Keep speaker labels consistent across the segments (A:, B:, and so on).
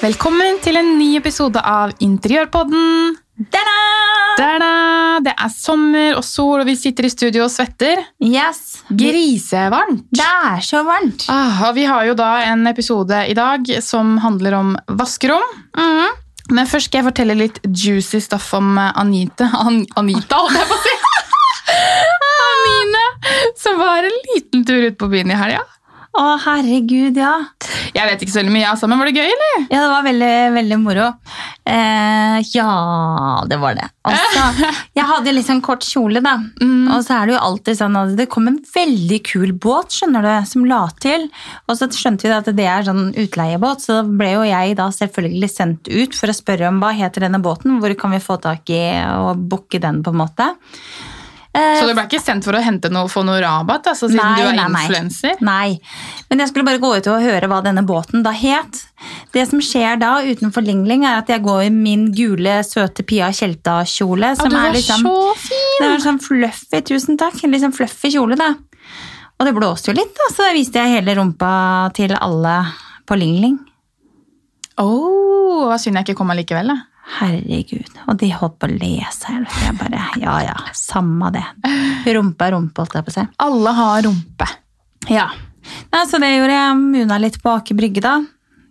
A: Velkommen til en ny episode av Interiørpodden.
B: Ta-da!
A: Da-da! Det er sommer og sol, og vi sitter i studio og svetter.
B: Yes. Det
A: Grisevarmt!
B: er så varmt.
A: Ah, og vi har jo da en episode i dag som handler om vaskerom. Men først skal jeg fortelle litt juicy stuff om eh, Anita. An Anita, holdt jeg på å si! Anine, som var en liten tur ut på byen i helga.
B: Å, herregud, ja.
A: Jeg vet ikke så veldig mye, altså, men var det gøy, eller?
B: Ja, det var veldig, veldig moro. Eh, ja, det var det. Altså, jeg hadde litt sånn kort kjole, da.
A: Mm.
B: Og så er det jo alltid sånn at det kom en veldig kul båt, skjønner du, som la til. Og så skjønte vi da at det er sånn utleiebåt, så da ble jo jeg da selvfølgelig sendt ut for å spørre om hva heter denne båten, hvor kan vi få tak i og booke den, på en måte. Eh,
A: Så du ble ikke sendt for å hente noe, få noe rabatt, altså, siden
B: Nei,
A: du er
B: nei, nei.
A: influenser?
B: Nei, men jeg skulle bare gå ut og høre hva denne båten da het. Det som skjer da utenfor Lingling, er at jeg går i min gule, søte Pia Tjelta-kjole.
A: Ja,
B: Som
A: du var
B: er liksom,
A: så fin!
B: Det var sånn fluffy, tusen takk. En liksom fluffy kjole, da. Og det blåste jo litt, da, så da viste jeg hele rumpa til alle på Lingling.
A: Åh, hva synd jeg ikke kom allikevel, da.
B: Herregud. Og de holdt på å le seg i hjel. Jeg bare Ja ja, samme det. Rumpa er rumpe, holdt jeg på å si.
A: Alle har rumpe.
B: Ja. Nei, så det gjorde jeg. Muna litt på Aker Brygge, da.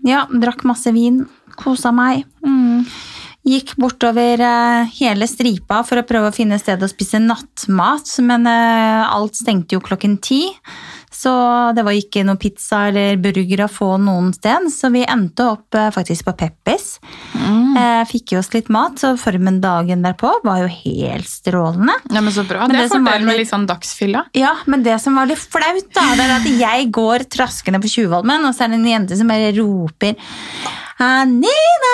B: Ja, drakk masse vin. Kosa meg. Gikk bortover eh, hele stripa for å prøve å finne et sted å spise nattmat, men eh, alt stengte jo klokken ti. Så det var ikke noe pizza eller burger å få noen sted, så vi endte opp eh, faktisk på Peppis. Eh, Fikk i oss litt mat, så formen dagen derpå var jo helt strålende.
A: Ja, men så bra.
B: Men
A: det,
B: det
A: er
B: som
A: fordelen
B: var
A: med
B: litt-
A: litt sånn dagsfylla.
B: Ja, men det som var litt flaut, da, det er at jeg går traskende på Tjuvholmen, og så er det en jente som bare roper Anine!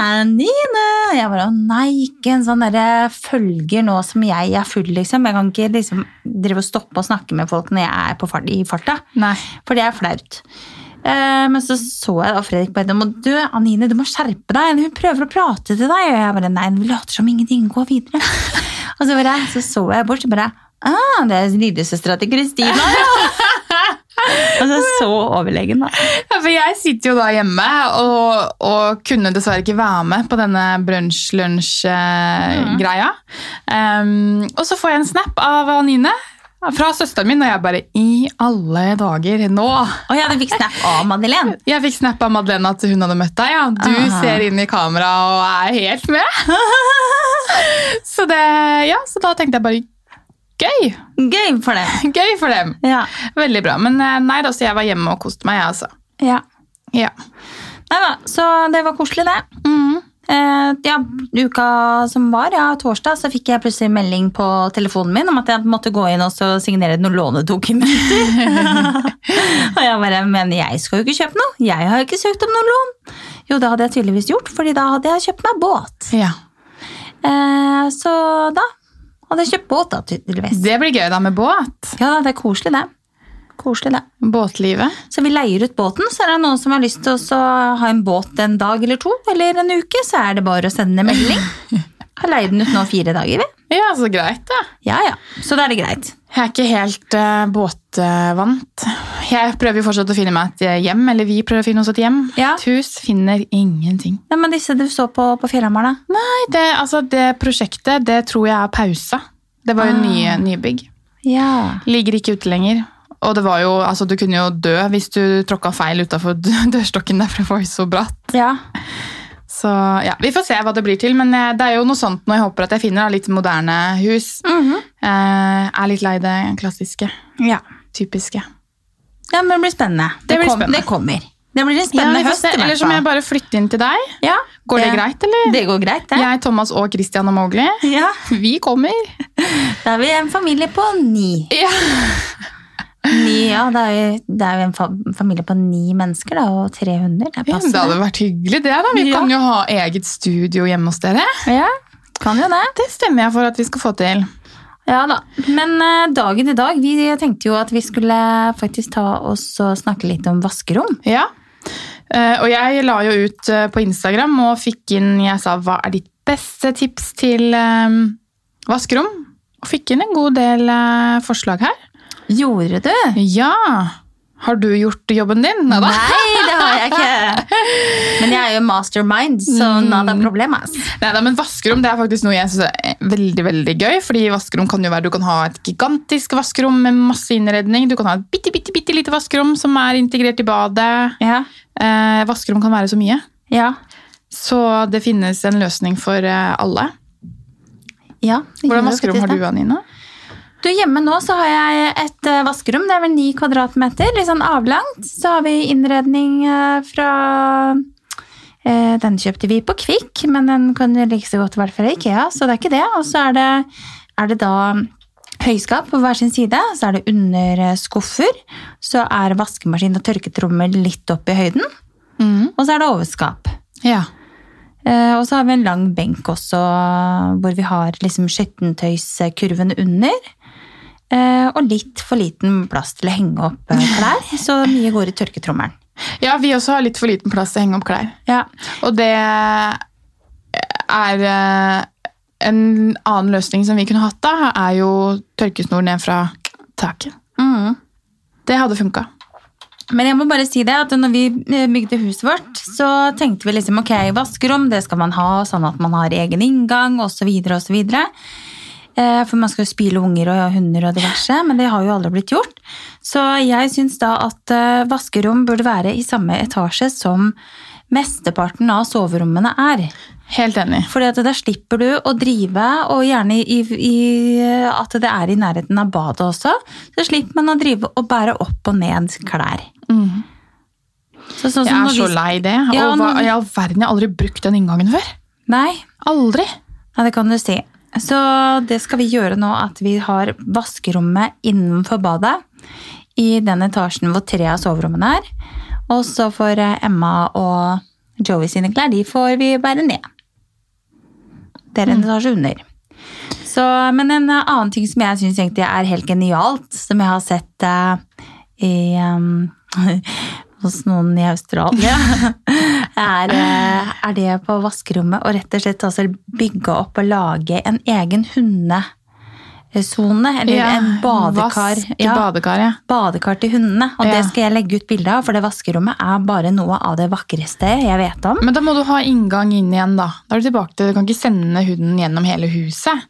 B: Anine! Jeg bare Å nei, ikke en sånn derre følger nå som jeg er full, liksom. Jeg kan ikke liksom drive og stoppe og snakke med folk når jeg er på fart, i farta.
A: Nei.
B: For det er flaut. Eh, men så så jeg da Fredrik på henne og du, Anine, du må skjerpe deg. Hun prøver å prate til deg. Og jeg bare nei, hun later som ingenting. Gå videre. og så, bare, så så jeg bort og bare ah, det er lillesøstera til Kristina. Ja. og så så overlegen, da.
A: Ja, for jeg sitter jo da hjemme og, og kunne dessverre ikke være med på denne brunsj-lunsj-greia. Mm. Ehm, og så får jeg en snap av Anine fra søsteren min, og jeg bare I alle dager, nå!
B: Og jeg hadde fikk snap av Madeleine.
A: Jeg fikk snap av Madeleine at hun hadde møtt deg. Ja. Du
B: Ah.
A: ser inn i kamera og er helt med. så, det, ja, så da tenkte jeg bare gøy.
B: Gøy for det.
A: Gøy for dem.
B: Ja.
A: Veldig bra. Men eh, nei da, så jeg var hjemme og koste meg, jeg, altså.
B: ja.
A: Ja. Mhm.
B: Nei da, så det var koselig, det. Eh, ja, uka som var, ja, torsdag, så fikk jeg plutselig melding på telefonen min om at jeg måtte gå inn og så signere noen lånedokumenter. og jeg bare Men jeg skal jo ikke kjøpe noe! Jeg har jo ikke søkt om noe lån! Jo, det hadde jeg tydeligvis gjort, fordi da hadde jeg kjøpt meg båt.
A: ja.
B: Eh, så da hadde jeg kjøpt båt, da, tydeligvis.
A: Det blir gøy da med båt.
B: Ja da, det er koselig, det. Koselig, det.
A: Båtlivet.
B: Så vi leier ut båten, så er det noen som har lyst til å så ha en båt en dag eller to, eller en uke, så er det bare å sende en melding. Har leid den ut nå fire dager, vi.
A: Ja, så greit, da.
B: Ja, ja. Så da er det greit.
A: Jeg er ikke helt eh, båtvant. Jeg prøver jo fortsatt å finne meg et eh, hjem, eller vi prøver å finne oss et hjem.
B: Ja.
A: Et hus finner ingenting.
B: Ja, men disse du så på, på Fjellhamar, da?
A: Nei, det, altså, det prosjektet, det tror jeg er pausa. Det var jo nye, nybygg.
B: Ja.
A: Ligger ikke ute lenger. Og det var jo, altså, du kunne jo dø hvis du tråkka feil utafor dørstokken der, for det var jo så bratt.
B: Ja.
A: Så ja, Vi får se hva det blir til, men eh, det er jo noe sånt nå jeg håper at jeg finner. da, Litt moderne hus.
B: Mhm.
A: eh, er litt lei det klassiske.
B: ja.
A: Typiske.
B: Ja, men det blir spennende.
A: Det blir spennende.
B: Det kommer. Det blir en
A: Ja,
B: spennende
A: vi får
B: høst,
A: se.
B: i
A: Eller
B: hvert
A: så må jeg
B: fall.
A: bare flytte inn til deg.
B: Ja,
A: Går det, greit, eller?
B: Det går greit, det.
A: Jeg, Thomas og Christian og Mowgli.
B: Ja.
A: Vi kommer.
B: Da er vi en familie på ni.
A: Ja.
B: ni ja, det er jo- det er jo en fa- familie på ni mennesker, da, og tre hunder. Det er
A: Ja, men Altså,
B: passende.
A: det hadde vært hyggelig, det. da. Vi
B: Ja.
A: kan jo ha eget studio hjemme hos dere.
B: Ja, kan jo det.
A: Det stemmer jeg for at vi skal få til.
B: Ja da. Men eh, dagen i dag, vi tenkte jo at vi skulle faktisk ta oss og snakke litt om vaskerom.
A: Ja. Eh, Og jeg la jo ut eh, på Instagram og fikk inn Jeg sa hva er ditt beste tips til eh, vaskerom? Og fikk inn en god del eh, forslag her.
B: Gjorde du?
A: Ja! Har du gjort jobben din? Nei da.
B: Nei, det har jeg ikke. Men jeg er jo mastermind, så
A: Mm.
B: nada problem, ass.
A: Neida, men vaskerom det er faktisk noe jeg synes er veldig veldig gøy. fordi vaskerom kan jo være, Du kan ha et gigantisk vaskerom med masse innredning. Du kan ha et bitte, bitte, bitte lite vaskerom som er integrert i badet.
B: Ja.
A: Eh, vaskerom kan være så mye.
B: Ja.
A: Så det finnes en løsning for eh, alle.
B: ja det gjør jo
A: Hvordan vaskerom
B: faktisk
A: har
B: det.
A: du, Anina?
B: Du, Hjemme nå så har jeg et eh, vaskerom. Det er vel ni kvadratmeter. Litt sånn avlangt. Så har vi innredning eh, fra eh, Den kjøpte vi på Kvikk, men den kan jo like så godt være fra Ikea, så det er ikke det. Og så er det, er det da høyskap på hver sin side. Så er det under eh, skuffer. Så er vaskemaskin og tørketrommel litt opp i høyden.
A: Mm.
B: Og så er det overskap.
A: Ja.
B: Eh, Og så har vi en lang benk også, hvor vi har liksom skjøttentøyskurven under. Eh, Og litt for liten plass til å henge opp eh, klær, så mye går i tørketrommelen.
A: ja, vi også har litt for liten plass til å henge opp klær.
B: Ja.
A: Og det er eh, En annen løsning som vi kunne hatt da, er jo tørkesnor ned fra taket.
B: Mm.
A: Det hadde funka.
B: Men jeg må bare si det, at når vi eh, bygde huset vårt, så tenkte vi liksom, ok, vaskerom, det skal man ha, sånn at man har egen inngang, og så videre, og så videre. Eh, For man skal jo spyle unger og hunder og diverse, men det har jo aldri blitt gjort. Så jeg synes da at eh, vaskerom burde være i samme etasje som mesteparten av soverommene er.
A: Helt enig.
B: Fordi at da slipper du å drive, og gjerne i, i, at det er i nærheten av badet også, så slipper man å drive og bære opp og ned klær. Mm. Så, sånn som
A: Jeg er
B: når
A: så
B: vi-
A: lei det.
B: Ja,
A: Og hva,
B: når vi-
A: I all verden, jeg har aldri brukt den inngangen før.
B: Nei,
A: Aldri.
B: ja, det kan du si. Så det skal vi gjøre nå, at vi har vaskerommet innenfor badet, i den etasjen hvor tre av soverommene er. Og så får eh, Emma og Joey sine klær, de får vi bære ned. Det
A: Mm.
B: er en etasje under. Så, men en eh, annen ting som jeg syns egentlig er helt genialt, som jeg har sett eh, i eh, hos noen i Australia, er, eh, er det på vaskerommet å rett og slett altså bygge opp og lage en egen hundesone, eller
A: Ja,
B: en badekar.
A: Vask i
B: Ja,
A: badekar, ja.
B: badekar til hundene, og
A: Ja.
B: det skal jeg legge ut bilde av, for det vaskerommet er bare noe av det vakreste jeg vet om.
A: Men da må du ha inngang inn igjen, da. Da er Du tilbake til, du kan ikke sende hunden gjennom hele huset.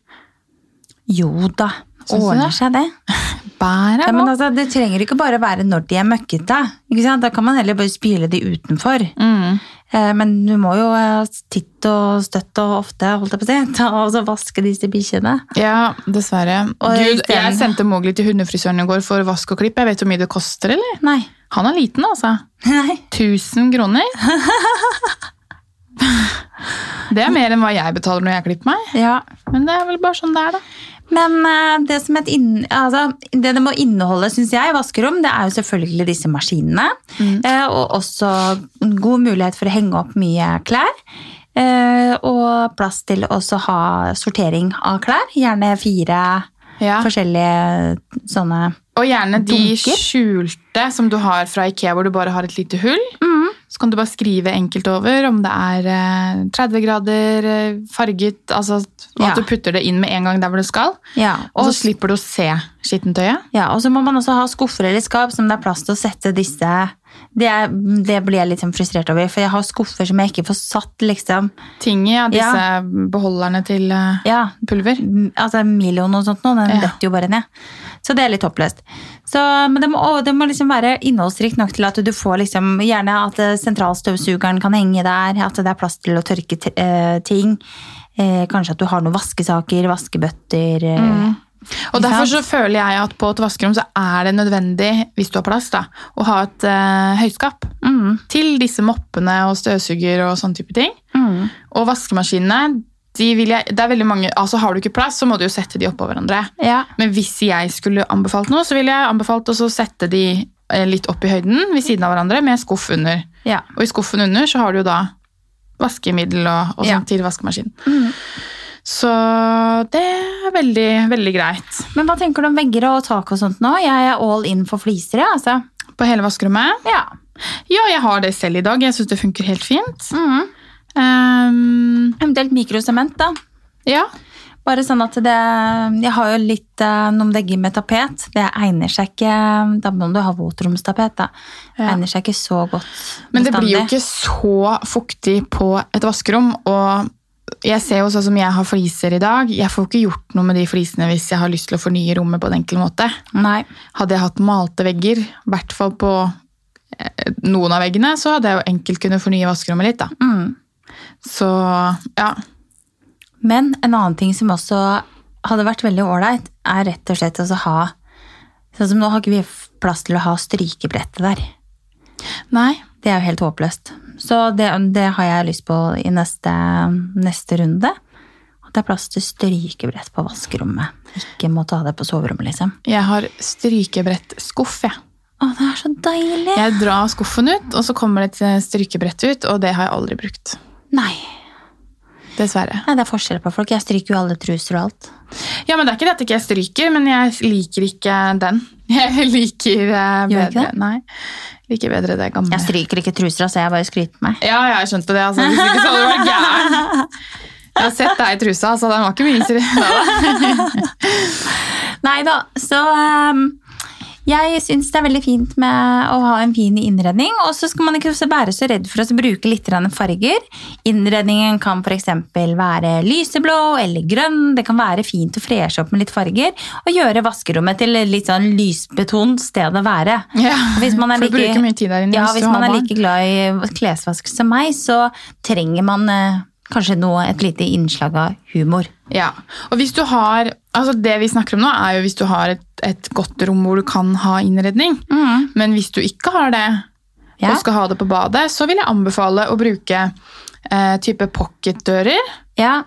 B: Jo da,
A: Syns du
B: ordner
A: det?
B: seg det.
A: Bære,
B: Ja, men altså, det trenger ikke bare være når de er møkkete. Ikke sant? Da kan man heller bare spyle de utenfor.
A: mm.
B: Eh, Men du må jo eh, titt og støtt og ofte holdt jeg på å si, ta og så vaske disse bikkjene.
A: Ja, dessverre.
B: Og
A: Gud,
B: isteden-
A: jeg sendte Mowgli til hundefrisøren i går for vask og klipp. Jeg vet hvor mye det koster, eller?
B: Nei.
A: Han er liten, altså.
B: Nei.
A: 1000 kroner. Det er mer enn hva jeg betaler når jeg klipper meg.
B: Ja.
A: Men det er vel bare sånn det er, da.
B: Men eh, det, som et inn, altså, det det må inneholde, syns jeg, i vaskerom, det er jo selvfølgelig disse maskinene. Eh, Og også god mulighet for å henge opp mye klær. Eh, Og plass til også ha sortering av klær. Gjerne fire
A: Ja.
B: forskjellige sånne
A: Og gjerne de
B: Dunker.
A: skjulte som du har fra Ikea, hvor du bare har et lite hull. Så kan du bare skrive enkelt over om det er eh, 30 grader, eh, farget, altså, og
B: Ja.
A: at du putter det inn med en gang der hvor det skal.
B: Ja,
A: Og
B: og
A: så slipper du å se skittentøyet.
B: Ja, og så må man også ha skuffer eller skap som det er plass til å sette disse Det, er- det blir jeg litt sånn frustrert over, for jeg har skuffer som jeg ikke får satt, liksom.
A: Tinget, ja, disse beholderne til eh,
B: Ja,
A: pulver.
B: m- altså Milon og sånt nå, den
A: Ja.
B: detter jo bare ned. Så det er litt håpløst. Så, men det må, og det må liksom være innholdsrikt nok til at du får liksom Gjerne at eh, sentralstøvsugeren kan henge der, at det er plass til å tørke t eh, ting. Eh, kanskje at du har noen vaskesaker, vaskebøtter eh.
A: Og
B: Ikke
A: derfor så
B: sant?
A: føler jeg at på et vaskerom så er det nødvendig, hvis du har plass, da, å ha et eh, høyskap
B: Mm.
A: til disse moppene og støvsuger og sånne type ting.
B: Mm.
A: Og vaskemaskinene, de vil jeg, det er veldig mange, altså har du ikke plass, så må du jo sette de oppå hverandre.
B: Ja.
A: Men hvis jeg skulle anbefalt noe, så ville jeg anbefalt også å sette de eh, litt opp i høyden ved siden av hverandre med skuff under.
B: ja.
A: Og i skuffen under så har du jo da vaskemiddel og, og
B: Ja.
A: sånn til vaskemaskinen.
B: Mm.
A: Så det er veldig, veldig greit.
B: Men hva tenker du om vegger og tak og sånt nå? Jeg er all in for fliser, jeg, altså.
A: På hele vaskerommet.
B: Ja.
A: Ja, jeg har det selv i dag. Jeg syns det funker helt fint.
B: Mm.
A: Ehm,
B: Eventuelt mikrosement, da.
A: ja.
B: Bare sånn at det Jeg har jo litt eh, noen vegger med tapet. Det egner seg ikke Da må du ha våtromstapet, da.
A: Ja.
B: Egner seg ikke så godt.
A: Men det blir jo
B: bestandig.
A: ikke så fuktig på et vaskerom. og jeg ser jo sånn som jeg har fliser i dag. Jeg får jo ikke gjort noe med de flisene hvis jeg har lyst til å fornye rommet på en enkel måte.
B: Nei.
A: Hadde jeg hatt malte vegger, i hvert fall på eh, noen av veggene, så hadde jeg jo enkelt kunnet fornye vaskerommet litt. da.
B: Mm.
A: Så ja.
B: Men en annen ting som også hadde vært veldig ålreit, er rett og slett å ha Sånn som nå har ikke vi plass til å ha strykebrettet der.
A: Nei.
B: Det er jo helt håpløst. Så det, det har jeg lyst på i neste, neste runde. At det er plass til strykebrett på vaskerommet. Ikke må ta det på soverommet, liksom.
A: Jeg har strykebrettskuff, jeg.
B: Å, det er så deilig!
A: Jeg drar skuffen ut, og så kommer det et strykebrett ut, og det har jeg aldri brukt.
B: Nei.
A: Dessverre.
B: Nei, det er forskjell på folk. Jeg stryker jo alle truser og alt.
A: Ja, men Det er ikke det at ikke jeg stryker, men jeg liker ikke den. Jeg liker eh,
B: Gjør du ikke
A: bedre
B: det?
A: Nei, liker bedre det gamle.
B: Jeg stryker ikke truser, altså. Jeg bare skryter meg.
A: Ja, ja, jeg skjønte det. altså. Hvis ikke så hadde du vært gæren. Jeg har sett deg i trusa, så den var ikke mye lysere.
B: Nei da, så ehm, jeg syns det er veldig fint med å ha en fin innredning. Og så skal man ikke også være så redd for å bruke litt grann farger. Innredningen kan f.eks. være lyseblå eller grønn. Det kan være fint å freshe opp med litt farger. Og gjøre vaskerommet til et litt sånn lysbetont sted å være.
A: Ja.
B: Og Hvis man er
A: For du
B: like,
A: bruker mye tid der inne
B: ja,
A: hvis
B: hvis
A: du har
B: man er
A: barn.
B: like glad i klesvask som meg, så trenger man eh, kanskje noe, et lite innslag av humor.
A: Ja, og hvis du har, altså Det vi snakker om nå, er jo hvis du har et, et godt rom hvor du kan ha innredning. Men hvis du ikke har det,
B: Mm. Ja.
A: og skal ha det på badet, så vil jeg anbefale å bruke eh, type pocketdører.
B: Ja,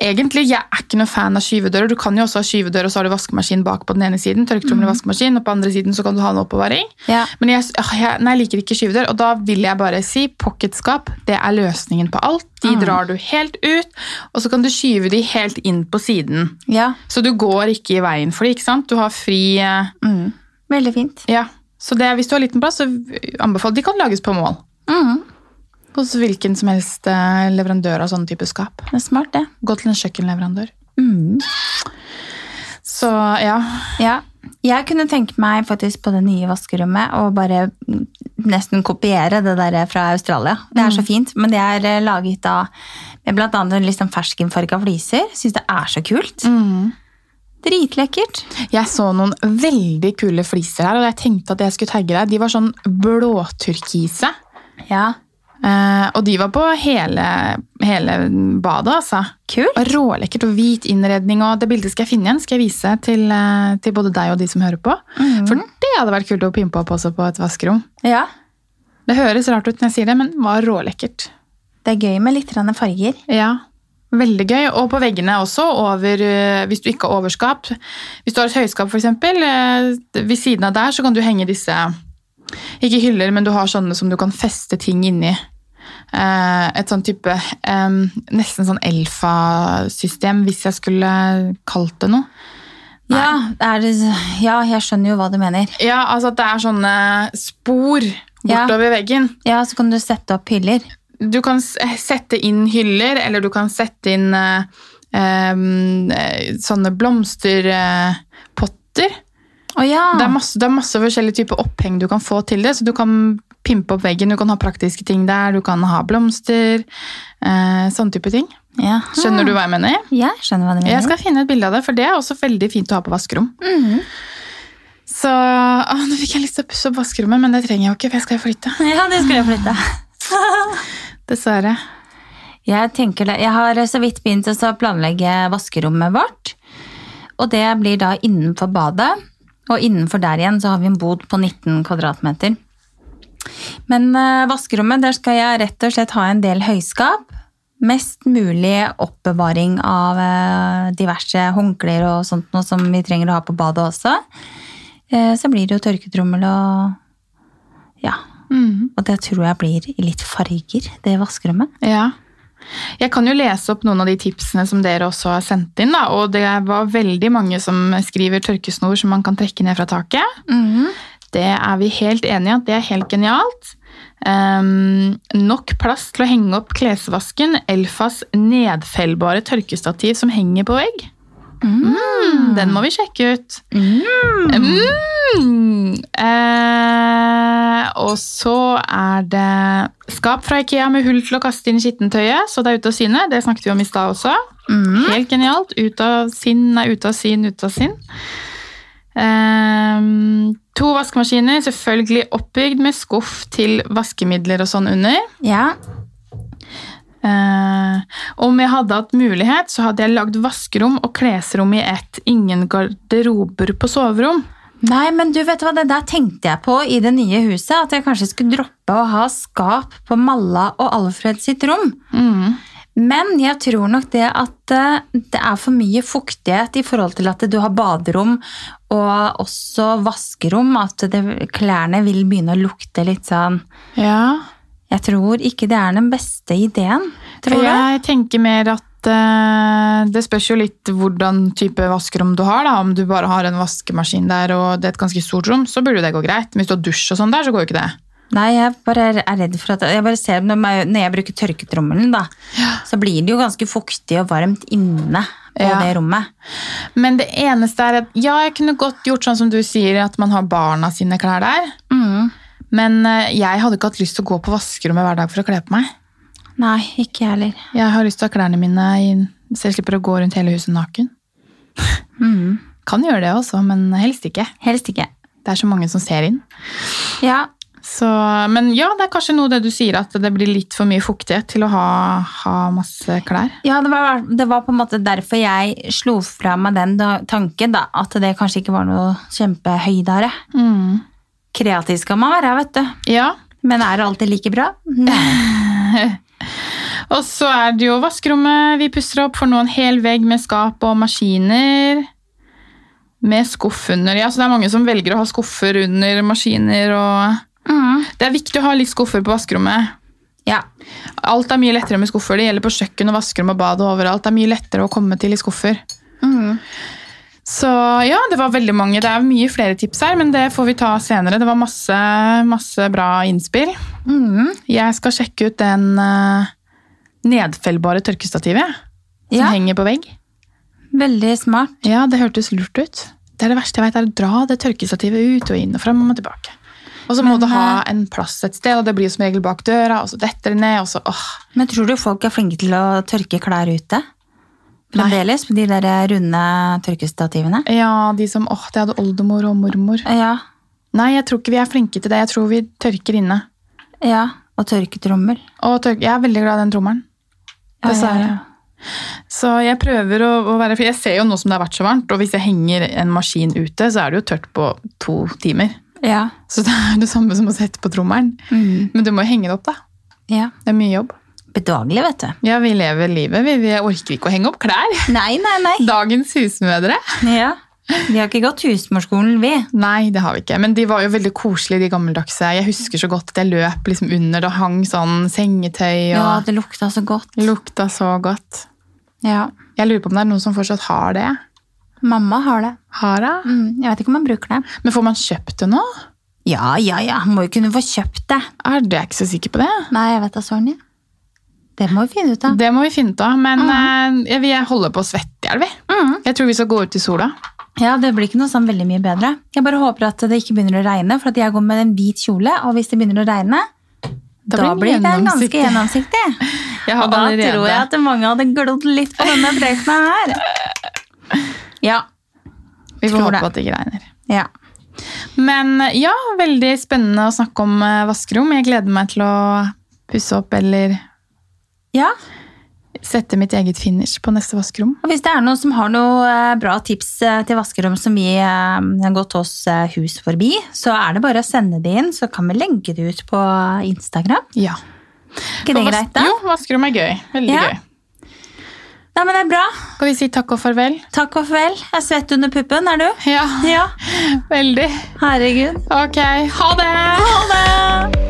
A: Egentlig, Jeg er ikke noe fan av skyvedører. Du kan jo også ha skyvedør, og så har du vaskemaskin bak på den ene siden. tørketrommel og vaskemaskin, og på andre siden så kan du ha en oppbevaring.
B: Mhm. ja.
A: Men jeg, ah, jeg, nei, jeg liker ikke skyvedør, og da vil jeg bare si pocketskap. Det er løsningen på alt. De
B: Ah.
A: drar du helt ut, og så kan du skyve de helt inn på siden.
B: ja.
A: Så du går ikke i veien for det, ikke sant? Du har fri eh,
B: Mm. Veldig fint.
A: Ja. Så det, hvis du har liten plass, så anbefaler De kan lages på mål.
B: Mm.
A: Hos hvilken som helst eh, leverandør av sånne type skap.
B: Det er smart, det.
A: Gå til en kjøkkenleverandør.
B: Mm.
A: Så ja.
B: Ja. Jeg kunne tenke meg faktisk på det nye vaskerommet og bare nesten kopiere det der fra Australia. Det
A: Mm.
B: er så fint, men det er eh, laget av med blant annet litt sånn ferskenfarga fliser. Syns det er så kult.
A: Mm.
B: Dritlekkert.
A: Jeg så noen veldig kule fliser her, og jeg tenkte at jeg skulle tagge deg. De var sånn blåturkise.
B: Ja.
A: Eh, og de var på hele, hele badet, altså.
B: Kult.
A: Og Rålekkert og hvit innredning. og Det bildet skal jeg finne igjen, skal jeg vise til, eh, til både deg og de som hører på. For det hadde vært kult å pimpe opp også på et vaskerom.
B: Ja.
A: Det høres rart ut når jeg sier det, men det var rålekkert.
B: Det er gøy med litt grann farger.
A: Ja, Veldig gøy. Og på veggene også, over, eh, hvis du ikke har overskap. Hvis du har et høyskap, f.eks., ved siden av der så kan du henge disse Ikke hyller, men du har sånne som du kan feste ting inni. Eh, Et sånn type eh, Nesten sånn Elfa-system, hvis jeg skulle kalt det noe.
B: Ja, er det, ja, jeg skjønner jo hva du mener.
A: Ja, altså at det er sånne spor
B: Ja.
A: bortover veggen.
B: Ja, Så kan du sette opp hyller.
A: Du kan s- eh, sette inn hyller, eller du kan sette inn eh, em, eh, sånne blomsterpotter.
B: Å ja.
A: Det, er masse- det er masse forskjellige typer oppheng du kan få til det, så du kan pimpe opp veggen, du kan ha praktiske ting der, du kan ha blomster, eh, sånne type ting.
B: ja.
A: Skjønner du hva jeg mener?
B: Jeg skjønner hva du mener.
A: Jeg skal finne et bilde av det, for det er også veldig fint å ha på vaskerom.
B: Mhm.
A: Så, å, nå fikk jeg lyst til å pusse opp vaskerommet, men det trenger jeg jo ikke, for jeg skal jo flytte.
B: Ja, det skulle jeg flytte.
A: Dessverre.
B: Jeg, tenker det. jeg har så vidt begynt å så planlegge vaskerommet vårt. Og det blir da innenfor badet. Og innenfor der igjen så har vi en bod på 19 kvadratmeter. Men eh, vaskerommet, der skal jeg rett og slett ha en del høyskap. Mest mulig oppbevaring av eh, diverse håndklær og sånt noe som vi trenger å ha på badet også. Eh, Så blir det jo tørketrommel og Ja.
A: Mhm.
B: Og det tror jeg blir i litt farger, det vaskerommet.
A: Ja. Jeg kan jo lese opp noen av de tipsene som dere også har sendt inn. Da. Og det var veldig mange som skriver tørkesnor som man kan trekke ned fra taket. Det er vi helt enig i at det er helt genialt. Ehm, nok plass til å henge opp klesvasken. Elfas nedfellbare tørkestativ som henger på vegg. Den må vi sjekke ut.
B: Mm.
A: Mm. Eh, og så er det skap fra Ikea med hull til å kaste inn skittentøyet, så det er ute av syne. Det snakket vi om i stad også.
B: Mm.
A: Helt genialt. Ut av sinn er ute av sin, ute av sinn. Ehm, to vaskemaskiner, selvfølgelig oppbygd med skuff til vaskemidler og sånn under.
B: Ja.
A: Eh, om jeg hadde hatt mulighet, så hadde jeg lagd vaskerom og klesrom i ett. Ingen garderober på soverom.
B: Nei, men du vet hva, det der tenkte jeg på i det nye huset. At jeg kanskje skulle droppe å ha skap på Malla og Alfred sitt rom.
A: Mm.
B: Men jeg tror nok det at eh, det er for mye fuktighet i forhold til at du har baderom og også vaskerom. At det, klærne vil begynne å lukte litt sånn
A: Ja.
B: Jeg tror ikke det er den beste ideen. Tror du?
A: Jeg tenker mer at eh, det spørs jo litt hvordan type vaskerom du har. da. Om du bare har en vaskemaskin der og det er et ganske stort rom, så burde det gå greit. Men hvis du har dusj og sånn der, så går jo ikke det.
B: Nei, jeg bare er redd for at jeg bare ser når jeg, når jeg bruker tørketrommelen, da, så blir det jo ganske fuktig og varmt inne på
A: Ja.
B: det rommet.
A: Men det eneste er at ja, jeg kunne godt gjort sånn som du sier, at man har barna sine klær der.
B: Mm.
A: Men eh, jeg hadde ikke hatt lyst til å gå på vaskerommet hver dag for å kle på meg.
B: Nei, ikke jeg heller.
A: Jeg har lyst til å ha klærne mine inn, så jeg slipper å gå rundt hele huset naken. Kan gjøre det også, men helst ikke.
B: Mm. Helst ikke.
A: Det er så mange som ser inn.
B: Ja,
A: Så, men ja, det er kanskje noe det du sier, at det blir litt for mye fuktighet til å ha, ha masse klær.
B: Ja, det var, det var på en måte derfor jeg slo fra meg den da, tanken, da, at det kanskje ikke var noe kjempehøydere. Kreativ skal man være, vet du.
A: Ja,
B: Men er det alltid like bra? Nei.
A: og så er det jo vaskerommet vi pusser opp, for nå en hel vegg med skap og maskiner. Med skuff under. Ja, så det er mange som velger å ha skuffer under maskiner og
B: Mm.
A: Det er viktig å ha litt skuffer på vaskerommet.
B: Ja.
A: Alt er mye lettere med skuffer. Det gjelder på kjøkken og vaskerom og bad og overalt. Det er mye lettere å komme til i skuffer.
B: Mm.
A: Så ja, det var veldig mange. Det er mye flere tips her, men det får vi ta senere. Det var masse, masse bra innspill.
B: Mm.
A: Jeg skal sjekke ut den eh, nedfellbare tørkestativet jeg, som
B: ja.
A: henger på vegg.
B: Veldig smart.
A: Ja, det hørtes lurt ut. Det er det verste jeg vet, er å dra det tørkestativet ut og inn og fram og tilbake. Og så må
B: Men,
A: det ha
B: eh,
A: en plass et sted, og det blir jo som regel bak døra, og så detter det ned, og så åh.
B: Men tror du folk er flinke til å tørke klær ute?
A: Nei.
B: Fremdeles med de der runde tørkestativene?
A: Ja, de som åh, det hadde oldemor og mormor.
B: Ja.
A: Nei, jeg tror ikke vi er flinke til det. Jeg tror vi tørker inne.
B: ja. Og tørketrommel.
A: Og tørk, jeg er veldig glad i den trommelen.
B: Ja,
A: Dessverre.
B: ja, ja.
A: Så jeg prøver å, å være For jeg ser jo nå som det har vært så varmt, og hvis jeg henger en maskin ute, så er det jo tørt på to timer.
B: Ja.
A: Så det er det samme som å sette på trommelen.
B: Mm.
A: Men du må jo henge det opp, da.
B: ja.
A: Det er mye jobb.
B: Bedagelig, vet du.
A: Ja, vi lever livet, vi. Vi orker ikke å henge opp klær.
B: Nei, nei, nei.
A: Dagens husmødre.
B: Ja. Vi har ikke gått husmorskolen, vi.
A: Nei, det har vi ikke. Men de var jo veldig koselige, de gammeldagse. Jeg husker så godt at jeg løp liksom under. Det hang sånn sengetøy og
B: Ja, det lukta så godt.
A: lukta så godt.
B: Ja.
A: Jeg lurer på om det er noen som fortsatt har det.
B: Mamma har det.
A: Har det?
B: Mm, jeg vet ikke om han bruker det.
A: Men får man kjøpt det nå?
B: Ja, ja, ja. Han må jo kunne få kjøpt det.
A: Er det jeg er ikke så sikker på det?
B: Nei, jeg vet da søren. jeg. Det må vi finne ut av.
A: Det må vi finne ut av. Men eh, jeg- vi holder på å svette i hjel, vi.
B: Mm.
A: Jeg tror vi skal gå ut i sola.
B: Ja, Det blir ikke noe sånn veldig mye bedre. Jeg bare håper at det ikke begynner å regne, for at jeg går med en hvit kjole, og hvis det begynner å regne, da, blir
A: den
B: det ganske
A: gjennomsiktig.
B: gjennomsiktig.
A: Jeg
B: Og
A: hadde
B: da
A: allerede
B: tror jeg at mange hadde glodd litt på denne brekna her. Ja.
A: Vi får
B: tror
A: håpe
B: det.
A: at det ikke regner.
B: ja.
A: Men eh, ja, veldig spennende å snakke om eh, vaskerom. Jeg gleder meg til å pusse opp eller
B: Ja,
A: sette mitt eget finish på neste vaskerom.
B: Og Hvis det er noen som har noen eh, bra tips eh, til vaskerom som vi eh, har gått oss eh, hus forbi, så er det bare å sende det inn, så kan vi legge det ut på Instagram.
A: Ja.
B: Ikke det
A: Og vas-
B: greit, da?
A: Jo, vaskerom er gøy. Veldig
B: Ja.
A: gøy.
B: Nei, men det er bra.
A: Skal vi si takk og farvel?
B: Takk og farvel. Jeg er svett under puppen, er du?
A: Ja,
B: Ja.
A: veldig.
B: Herregud.
A: Ok, ha det!
B: Ha det!